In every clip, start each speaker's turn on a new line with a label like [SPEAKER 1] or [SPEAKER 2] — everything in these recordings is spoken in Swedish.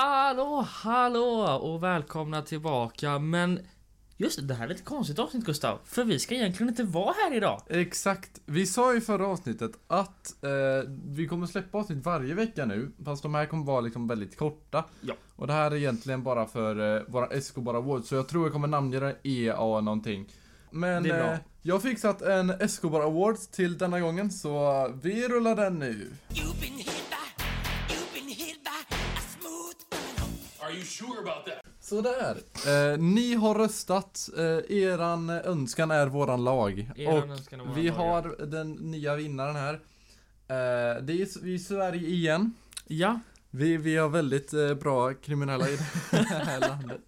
[SPEAKER 1] Hallå, hallå och välkomna tillbaka. Men just det, det här är lite konstigt avsnitt Gustav. För vi ska egentligen inte vara här idag.
[SPEAKER 2] Exakt. Vi sa i förra avsnittet att eh, vi kommer släppa avsnitt varje vecka nu. Fast de här kommer vara liksom väldigt korta.
[SPEAKER 1] Ja.
[SPEAKER 2] Och det här är egentligen bara för eh, våra Escobar Awards. Så jag tror jag kommer namnge den EA någonting. Men
[SPEAKER 1] Det är bra.
[SPEAKER 2] eh, jag har fixat en Escobar Awards till denna gången. Så vi rullar den nu.
[SPEAKER 3] You've been hit by, you've been hit by a smooth criminal.
[SPEAKER 2] Sådär. Eh, ni har röstat. Eh, eran önskan är våran lag.
[SPEAKER 1] Eran
[SPEAKER 2] och
[SPEAKER 1] önskan är våran
[SPEAKER 2] vi
[SPEAKER 1] lag, ja.
[SPEAKER 2] har den nya vinnaren här. Eh, det är vi är i Sverige igen.
[SPEAKER 1] Ja,
[SPEAKER 2] Vi, vi har väldigt eh, bra kriminella i det här landet.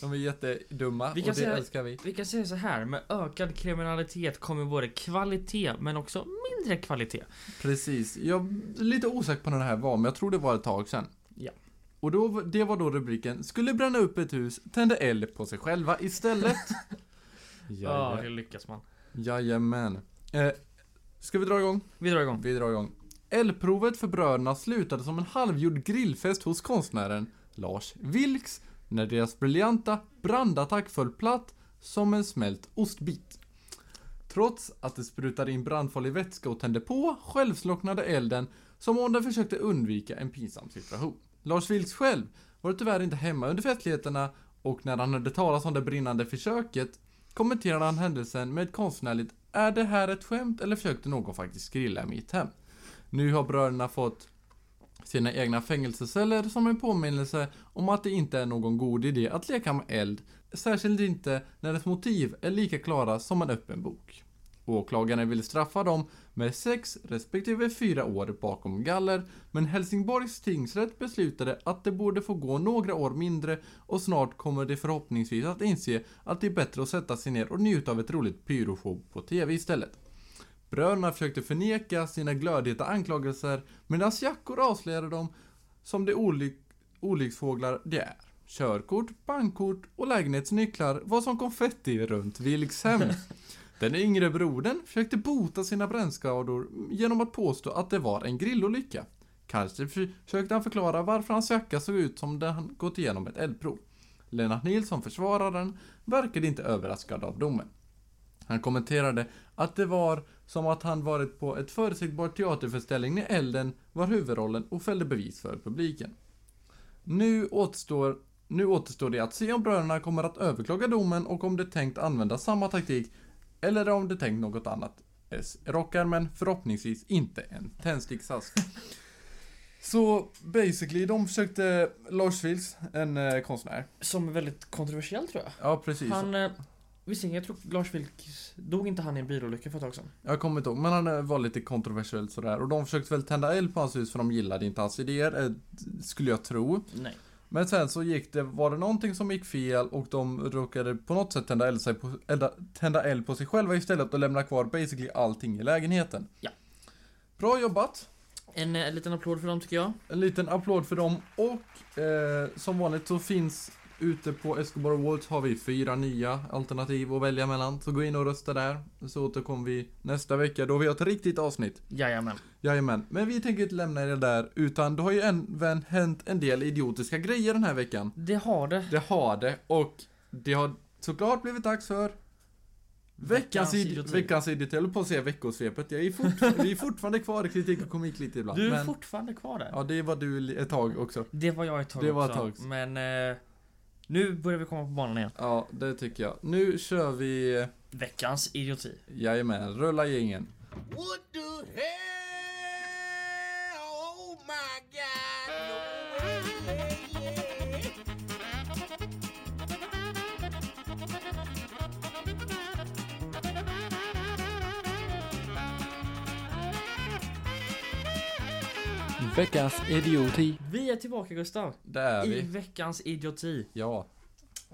[SPEAKER 2] De är jättedumma
[SPEAKER 1] Vi
[SPEAKER 2] och
[SPEAKER 1] kan
[SPEAKER 2] det
[SPEAKER 1] säga-
[SPEAKER 2] älskar vi.
[SPEAKER 1] vi kan säga så här. Med ökad kriminalitet kommer både kvalitet men också mindre kvalitet.
[SPEAKER 2] Precis. Jag är lite osäker på när det här var, men jag tror det var ett tag sedan.
[SPEAKER 1] Ja.
[SPEAKER 2] Och då, det var då rubriken Skulle bränna upp ett hus, tände eld på sig själva istället.
[SPEAKER 1] Ja, det
[SPEAKER 2] Jajamän.
[SPEAKER 1] lyckas man.
[SPEAKER 2] Jajamän. Eh, ska vi dra igång?
[SPEAKER 1] Vi drar igång.
[SPEAKER 2] Vi drar igång. Eldprovet för bröderna slutade som en halvgjord grillfest hos konstnären Lars Vilks när deras briljanta brandattack föll platt som en smält ostbit. Trots att det sprutade in brandfarlig vätska och tände på självslocknade elden som om den försökte undvika en pinsam situation. Lars Vilks själv var tyvärr inte hemma under festligheterna och när han hörde talas om det brinnande försöket kommenterade han händelsen med ett konstnärligt Är det här ett skämt eller försökte någon faktiskt grilla i mitt hem? Nu har bröderna fått sina egna fängelseceller som en påminnelse om att det inte är någon god idé att leka med eld, särskilt inte när dess motiv är lika klara som en öppen bok. Åklagaren vill straffa dem med sex respektive fyra år bakom galler, men Helsingborgs tingsrätt beslutade att det borde få gå några år mindre och snart kommer de förhoppningsvis att inse att det är bättre att sätta sig ner och njuta av ett roligt pyroshow på TV istället. Bröderna försökte förneka sina glödheta anklagelser medan jackor avslöjade dem som de olyck olycksfåglar de är. Körkort, bankkort och lägenhetsnycklar var som konfetti runt Vilks hem. Den yngre brodern försökte bota sina brännskador genom att påstå att det var en grillolycka. Kanske försökte han förklara varför hans jacka såg ut som den han gått igenom ett eldprov. Lennart Nilsson, försvararen, verkade inte överraskad av domen. Han kommenterade att det var som att han varit på ett förutsägbart teaterföreställning när elden var huvudrollen och fällde bevis för publiken. Nu återstår, nu återstår det att se om bröderna kommer att överklaga domen och om de tänkt använda samma taktik eller om de tänkt något annat. S rockar men förhoppningsvis inte en tändsticksask. Så basically, de försökte Lars Vilks, en eh, konstnär.
[SPEAKER 1] Som är väldigt kontroversiell tror jag.
[SPEAKER 2] Ja, precis.
[SPEAKER 1] Han... Eh, Visserligen, jag tror Lars Vilks... Dog inte han i en bilolycka för ett tag sedan?
[SPEAKER 2] Jag kommer inte ihåg, men han eh, var lite kontroversiell sådär. Och de försökte väl tända eld på hans hus för de gillade inte hans idéer, eh, skulle jag tro.
[SPEAKER 1] Nej.
[SPEAKER 2] Men sen så gick det, var det någonting som gick fel och de råkade på något sätt tända eld, sig på, elda, tända eld på sig själva istället och lämna kvar basically allting i lägenheten.
[SPEAKER 1] Ja.
[SPEAKER 2] Bra jobbat!
[SPEAKER 1] En eh, liten applåd för dem tycker jag.
[SPEAKER 2] En liten applåd för dem och eh, som vanligt så finns ute på Escobar Awards har vi fyra nya alternativ att välja mellan. Så gå in och rösta där så återkommer vi nästa vecka då vi har ett riktigt avsnitt.
[SPEAKER 1] Jajamän.
[SPEAKER 2] Jajamän, men vi tänker inte lämna er där utan det har ju även hänt en del idiotiska grejer den här veckan.
[SPEAKER 1] Det har det.
[SPEAKER 2] Det har det och det har såklart blivit dags för
[SPEAKER 1] Veckans
[SPEAKER 2] veckans, idioti.
[SPEAKER 1] idioti.
[SPEAKER 2] veckans idioti. Jag höll på att säga veckosvepet. Jag är fortfar- vi är fortfarande kvar i kritik och komik lite ibland.
[SPEAKER 1] Du är
[SPEAKER 2] men,
[SPEAKER 1] fortfarande kvar där.
[SPEAKER 2] ja, det var du li- ett tag också.
[SPEAKER 1] Det var jag ett tag
[SPEAKER 2] Det var
[SPEAKER 1] också.
[SPEAKER 2] ett tag också.
[SPEAKER 1] Men eh, nu börjar vi komma på banan igen.
[SPEAKER 2] Ja, det tycker jag. Nu kör vi,
[SPEAKER 1] Veckans idioti.
[SPEAKER 2] jajamän, rulla gängen.
[SPEAKER 3] What the hell? Oh my God! No way.
[SPEAKER 2] Veckans idioti.
[SPEAKER 1] Vi är tillbaka Gustav.
[SPEAKER 2] Det är
[SPEAKER 1] I
[SPEAKER 2] vi.
[SPEAKER 1] veckans idioti.
[SPEAKER 2] Ja,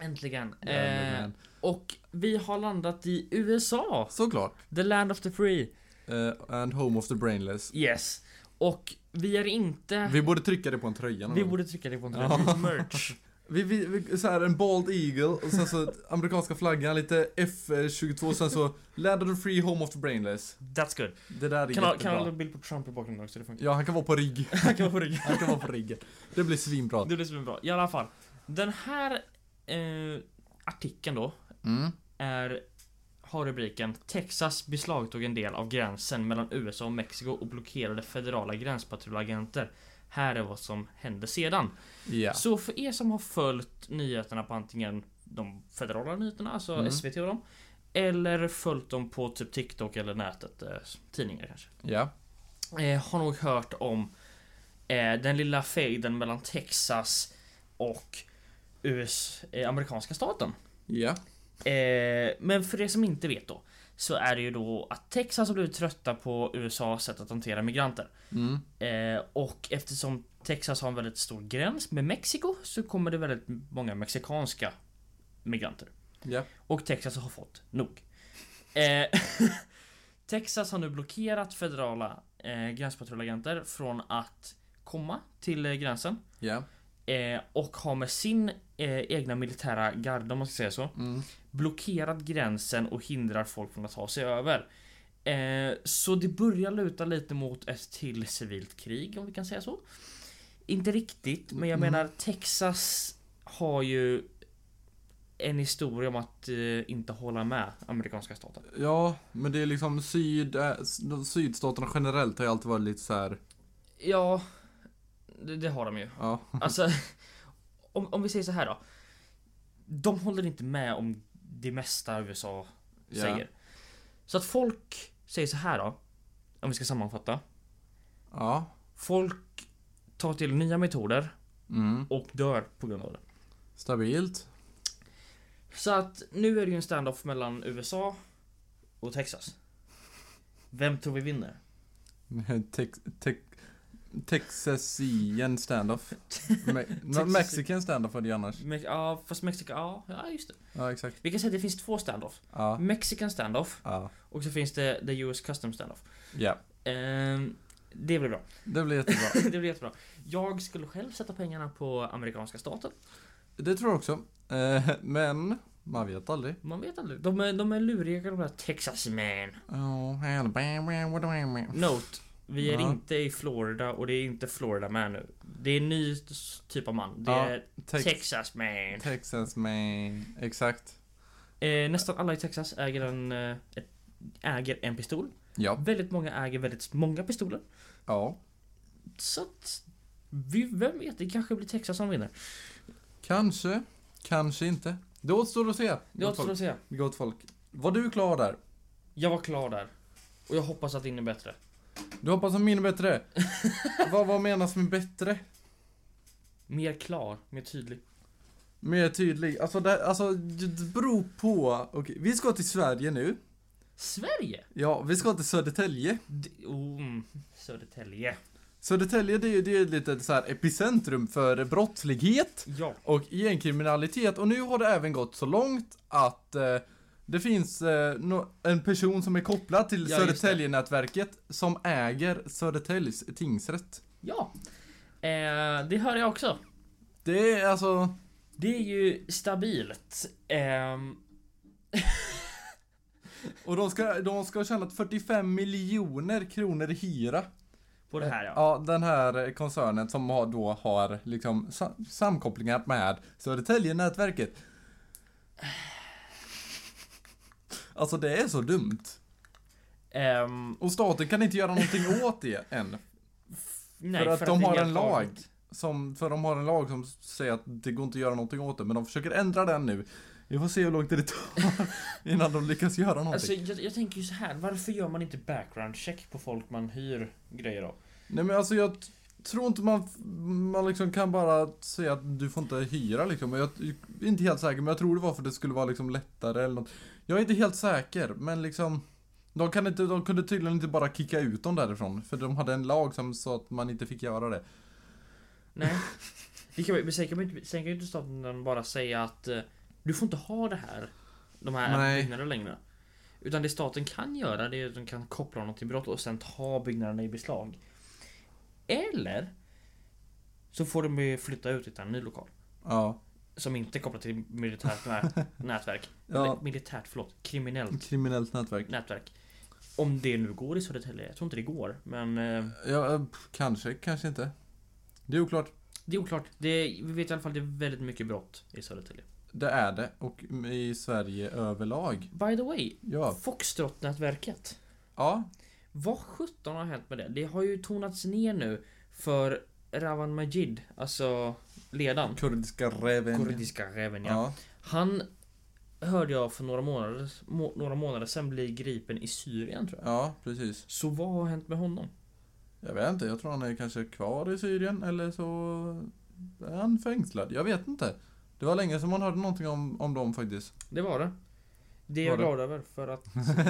[SPEAKER 1] Äntligen. Eh,
[SPEAKER 2] Jajamän.
[SPEAKER 1] och vi har landat i USA.
[SPEAKER 2] såklart.
[SPEAKER 1] The land of the free.
[SPEAKER 2] Eh, and home of the brainless.
[SPEAKER 1] Yes. Och vi är inte...
[SPEAKER 2] Vi borde trycka det på en tröja någon
[SPEAKER 1] Vi
[SPEAKER 2] gång.
[SPEAKER 1] borde trycka det på en
[SPEAKER 2] Ja.
[SPEAKER 1] tröja. Merch.
[SPEAKER 2] Vi, vi, vi, så här en bald eagle och sen så amerikanska flaggan, lite F22 sen så Land of the free, home of the brainless.
[SPEAKER 1] That's good.
[SPEAKER 2] Det där är
[SPEAKER 1] Kan ha, kan
[SPEAKER 2] jättebra.
[SPEAKER 1] ha en bild på Trump i bakgrunden också, det funkar.
[SPEAKER 2] Ja, han kan vara på rigg.
[SPEAKER 1] Han kan vara på ryggen.
[SPEAKER 2] Han kan vara på rigg. Det blir svinbra.
[SPEAKER 1] Det blir superbra. I alla fall. Den här eh, artikeln då
[SPEAKER 2] Mm.
[SPEAKER 1] är har rubriken Texas beslagtog en del av gränsen mellan USA och Mexiko och blockerade federala gränspatrullagenter. Här är vad som hände sedan.
[SPEAKER 2] Ja.
[SPEAKER 1] Så för er som har följt nyheterna på antingen de federala nyheterna, alltså
[SPEAKER 2] Mm.
[SPEAKER 1] SVT och dem. Eller följt dem på typ TikTok eller nätet, eh, tidningar kanske.
[SPEAKER 2] Ja.
[SPEAKER 1] Eh, har nog hört om eh, den lilla fejden mellan Texas och US, eh, amerikanska staten.
[SPEAKER 2] Ja.
[SPEAKER 1] Eh, men för er som inte vet då så är det ju då att Texas har blivit trötta på USAs sätt att hantera migranter.
[SPEAKER 2] Mm.
[SPEAKER 1] Eh, och eftersom Texas har en väldigt stor gräns med Mexiko så kommer det väldigt många mexikanska migranter.
[SPEAKER 2] Ja.
[SPEAKER 1] Och Texas har fått nog. Eh, Texas har nu blockerat federala eh, gränspatrullagenter från att komma till eh, gränsen.
[SPEAKER 2] Ja.
[SPEAKER 1] Eh, och har med sin eh, egna militära garde, om man ska säga så,
[SPEAKER 2] Mm.
[SPEAKER 1] blockerat gränsen och hindrar folk från att ta sig över. Eh, så det börjar luta lite mot ett till civilt krig om vi kan säga så. Inte riktigt, men jag menar Texas har ju en historia om att eh, inte hålla med amerikanska staten.
[SPEAKER 2] Ja, men det är liksom syd, eh, s- de sydstaterna generellt har ju alltid varit lite så här.
[SPEAKER 1] Ja, det, det har de ju.
[SPEAKER 2] ja.
[SPEAKER 1] Alltså, om, om vi säger så här då. De håller inte med om det mesta USA
[SPEAKER 2] Ja.
[SPEAKER 1] säger. Så att folk säger så här då. Om vi ska sammanfatta.
[SPEAKER 2] Ja.
[SPEAKER 1] Folk tar till nya metoder
[SPEAKER 2] Mm.
[SPEAKER 1] och dör på grund av det.
[SPEAKER 2] Stabilt.
[SPEAKER 1] Så att nu är det ju en standoff mellan USA och Texas. Vem tror vi vinner?
[SPEAKER 2] Tex, tex, Texasian standoff. Me, no, Mexican standoff var det ju annars.
[SPEAKER 1] Me- ja, fast Mexiko, ja, ja just det.
[SPEAKER 2] Ja, exakt.
[SPEAKER 1] Vi kan säga att det finns två standoff.
[SPEAKER 2] Ja.
[SPEAKER 1] Mexican standoff
[SPEAKER 2] Ja.
[SPEAKER 1] och så finns det the US custom standoff.
[SPEAKER 2] Ja.
[SPEAKER 1] Ehm, det blir bra.
[SPEAKER 2] Det blir jättebra.
[SPEAKER 1] det blir jättebra. Jag skulle själv sätta pengarna på amerikanska staten.
[SPEAKER 2] Det tror jag också. Eh, men man vet aldrig.
[SPEAKER 1] Man vet aldrig. De är, de är luriga de där Texas man.
[SPEAKER 2] Oh, Alabama, what do I mean?
[SPEAKER 1] Note. Vi är
[SPEAKER 2] Ja.
[SPEAKER 1] inte i Florida och det är inte Florida man nu. Det är en ny s- typ av man. Det
[SPEAKER 2] Ja,
[SPEAKER 1] är
[SPEAKER 2] Tex-
[SPEAKER 1] Texas man.
[SPEAKER 2] Texas man. Exakt.
[SPEAKER 1] Eh, nästan alla i Texas äger en, eh, ett, äger en pistol.
[SPEAKER 2] Ja.
[SPEAKER 1] Väldigt många äger väldigt många pistoler.
[SPEAKER 2] Ja.
[SPEAKER 1] Så att, vi, vem vet, det kanske blir Texas som vinner.
[SPEAKER 2] Kanske. Kanske inte. Det återstår att se.
[SPEAKER 1] Det återstår att se.
[SPEAKER 2] Gott folk. Var du klar där?
[SPEAKER 1] Jag var klar där. Och jag hoppas att din är bättre.
[SPEAKER 2] Du hoppas att min är bättre? vad, vad menas med bättre?
[SPEAKER 1] Mer klar, mer tydlig.
[SPEAKER 2] Mer tydlig. Alltså, det, alltså det beror på. Okej, vi ska till Sverige nu.
[SPEAKER 1] Sverige?
[SPEAKER 2] Ja, vi ska till Södertälje.
[SPEAKER 1] D- oh, mm, Södertälje.
[SPEAKER 2] Södertälje det är ju det är ett litet så här epicentrum för brottslighet.
[SPEAKER 1] Ja.
[SPEAKER 2] och gängkriminalitet. Och nu har det även gått så långt att eh, det finns eh, nå- en person som är kopplad till
[SPEAKER 1] Ja, just det.
[SPEAKER 2] Södertäljenätverket som äger Södertäljes tingsrätt.
[SPEAKER 1] Ja. Eh, det hör jag också.
[SPEAKER 2] Det är alltså...
[SPEAKER 1] Det är ju stabilt. Ehm,
[SPEAKER 2] Och de ska, de ska ha tjänat 45 miljoner kronor i hyra.
[SPEAKER 1] på det här ja.
[SPEAKER 2] Ja, den här eh, koncernen som har, då har liksom sa- samkopplingar med Södertäljenätverket. Alltså det är så dumt.
[SPEAKER 1] Ehm,
[SPEAKER 2] Och staten kan inte göra någonting åt det än.
[SPEAKER 1] nej,
[SPEAKER 2] för att de
[SPEAKER 1] det är
[SPEAKER 2] har en
[SPEAKER 1] helt
[SPEAKER 2] lag.
[SPEAKER 1] galet.
[SPEAKER 2] Som, för de har en lag som säger att det går inte att göra någonting åt det, men de försöker ändra den nu. Vi får se hur långt det tar innan de lyckas göra någonting.
[SPEAKER 1] Alltså jag, jag tänker ju så här. varför gör man inte background check på folk man hyr grejer av?
[SPEAKER 2] Nej men alltså jag t- tror inte man, f- man liksom kan bara säga att du får inte hyra liksom. Jag t- är inte helt säker, men jag tror det var för att det skulle vara liksom lättare eller något. Jag är inte helt säker, men liksom. De, kan inte, de kunde tydligen inte bara kicka ut dem därifrån, för de hade en lag som sa att man inte fick göra det.
[SPEAKER 1] Nej. Det kan, man- men sen kan man ju inte, sen kan ju inte staten bara säga att eh, du får inte ha det här. De här
[SPEAKER 2] Nej.
[SPEAKER 1] byggnaderna längre. Utan det staten kan göra det är att de kan koppla honom till brott och sen ta byggnaderna i beslag. Eller så får de ju flytta ut och hitta en ny lokal.
[SPEAKER 2] Ja.
[SPEAKER 1] som inte är kopplat till militärt nä- nätverk.
[SPEAKER 2] Ja.
[SPEAKER 1] Eller militärt, förlåt. Kriminellt
[SPEAKER 2] Kriminellt nätverk.
[SPEAKER 1] nätverk. Om det nu går i Södertälje. Jag tror inte det går. Men eh,
[SPEAKER 2] Ja, eh, pff, kanske, kanske inte. Det är oklart.
[SPEAKER 1] det är oklart. Det, vi vet i alla fall att det är väldigt mycket brott i Södertälje.
[SPEAKER 2] Det är det. Och i Sverige överlag.
[SPEAKER 1] By the way.
[SPEAKER 2] Ja.
[SPEAKER 1] Foxtrot-nätverket.
[SPEAKER 2] Ja.
[SPEAKER 1] Vad sjutton har hänt med det? Det har ju tonats ner nu för Ravan Majid, alltså ledaren.
[SPEAKER 2] Kurdiska räven.
[SPEAKER 1] Kurdiska räven ja.
[SPEAKER 2] Ja.
[SPEAKER 1] Han hörde jag för några månader, må, några månader sedan bli gripen i Syrien tror jag.
[SPEAKER 2] Ja, precis.
[SPEAKER 1] Så vad har hänt med honom?
[SPEAKER 2] Jag vet inte, jag tror han är kanske kvar i Syrien eller så är han fängslad. Jag vet inte. Det var länge som man hörde någonting om, om dem faktiskt.
[SPEAKER 1] Det var det. Det är jag
[SPEAKER 2] Var det?
[SPEAKER 1] glad över för att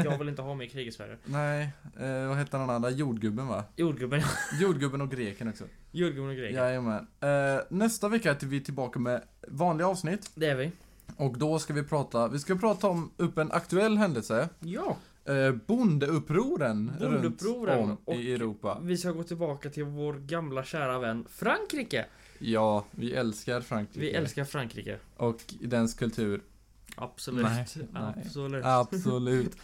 [SPEAKER 1] jag vill inte ha mer krig i Sverige.
[SPEAKER 2] Nej, eh, vad hette den andra? Jordgubben va?
[SPEAKER 1] Jordgubben,
[SPEAKER 2] Jordgubben och greken också.
[SPEAKER 1] jordgubben och grejer.
[SPEAKER 2] Jajamän. Eh, nästa vecka är vi tillbaka med vanliga avsnitt.
[SPEAKER 1] Det är vi.
[SPEAKER 2] Och då ska vi prata, vi ska prata om upp en aktuell händelse.
[SPEAKER 1] Ja,
[SPEAKER 2] Eh, bondeupproren,
[SPEAKER 1] Bondeupproren
[SPEAKER 2] runt om
[SPEAKER 1] och-
[SPEAKER 2] i Europa.
[SPEAKER 1] vi ska gå tillbaka till vår gamla kära vän Frankrike.
[SPEAKER 2] Ja, vi älskar Frankrike.
[SPEAKER 1] Vi älskar Frankrike.
[SPEAKER 2] Och dens kultur.
[SPEAKER 1] Absolut.
[SPEAKER 2] Nej, nej.
[SPEAKER 1] Absolut.
[SPEAKER 2] Absolut.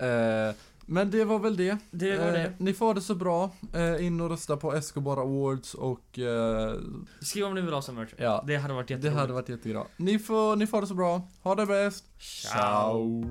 [SPEAKER 2] eh, men det var väl det.
[SPEAKER 1] Det var det.
[SPEAKER 2] Eh, ni får ha det så bra. Eh, in och rösta på Escobar Awards och eh,
[SPEAKER 1] Skriv om ni vill ha som merch.
[SPEAKER 2] ja,
[SPEAKER 1] Det hade varit
[SPEAKER 2] det
[SPEAKER 1] jätteroligt.
[SPEAKER 2] hade varit jättebra. Ni får, ni får ha det så bra. Ha det bäst.
[SPEAKER 1] Ciao.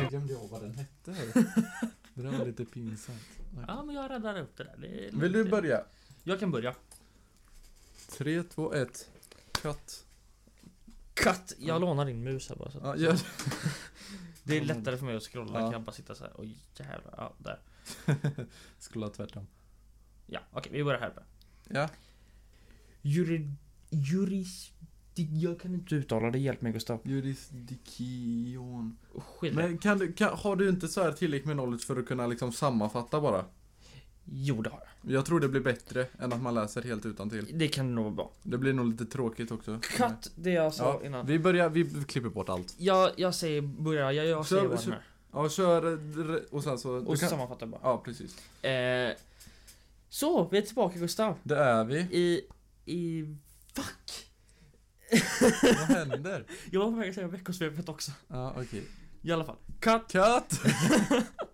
[SPEAKER 2] Jag glömde av vad den hette. Det där var lite pinsamt.
[SPEAKER 1] Ja, men jag räddar upp det där. Det är
[SPEAKER 2] Vill
[SPEAKER 1] lugnt.
[SPEAKER 2] du börja?
[SPEAKER 1] Jag kan börja.
[SPEAKER 2] 3, 2, 1. Katt.
[SPEAKER 1] Katt! Jag lånar din mus här bara. Så att
[SPEAKER 2] Ja, gör det.
[SPEAKER 1] Det är lättare för mig att scrolla.
[SPEAKER 2] Ja.
[SPEAKER 1] Kan jag bara sitta så här. Oj jävlar. Ja, där.
[SPEAKER 2] Skulle ha tvärtom.
[SPEAKER 1] Ja, okej. Vi börjar här uppe.
[SPEAKER 2] Ja.
[SPEAKER 1] Juri... Juris... Jag kan inte uttala det. Hjälp mig Gustav.
[SPEAKER 2] Jurisdiktion.
[SPEAKER 1] Skit Men...
[SPEAKER 2] Men kan du, kan, har du inte så här tillräckligt med knowledge för att kunna liksom sammanfatta bara?
[SPEAKER 1] Jo, det har jag.
[SPEAKER 2] Jag tror det blir bättre än att man läser helt utan till.
[SPEAKER 1] Det kan nog vara bra.
[SPEAKER 2] Det blir nog lite tråkigt också.
[SPEAKER 1] Katt, det jag sa
[SPEAKER 2] Ja,
[SPEAKER 1] innan.
[SPEAKER 2] vi börjar, vi klipper bort allt.
[SPEAKER 1] Jag, jag säger börja. Jag, jag
[SPEAKER 2] Så-
[SPEAKER 1] säger vad
[SPEAKER 2] så-
[SPEAKER 1] den är.
[SPEAKER 2] Ja, kör eh, dr- och sen så... du
[SPEAKER 1] Och
[SPEAKER 2] kan-
[SPEAKER 1] sammanfattar bara.
[SPEAKER 2] Ja, precis.
[SPEAKER 1] Eh, så, vi är tillbaka Gustav.
[SPEAKER 2] Det är vi.
[SPEAKER 1] I... I... Fuck!
[SPEAKER 2] Vad händer?
[SPEAKER 1] Jag var på väg att säga veckosvepet också.
[SPEAKER 2] Ja, okej.
[SPEAKER 1] I alla fall. Cut!
[SPEAKER 2] Katt!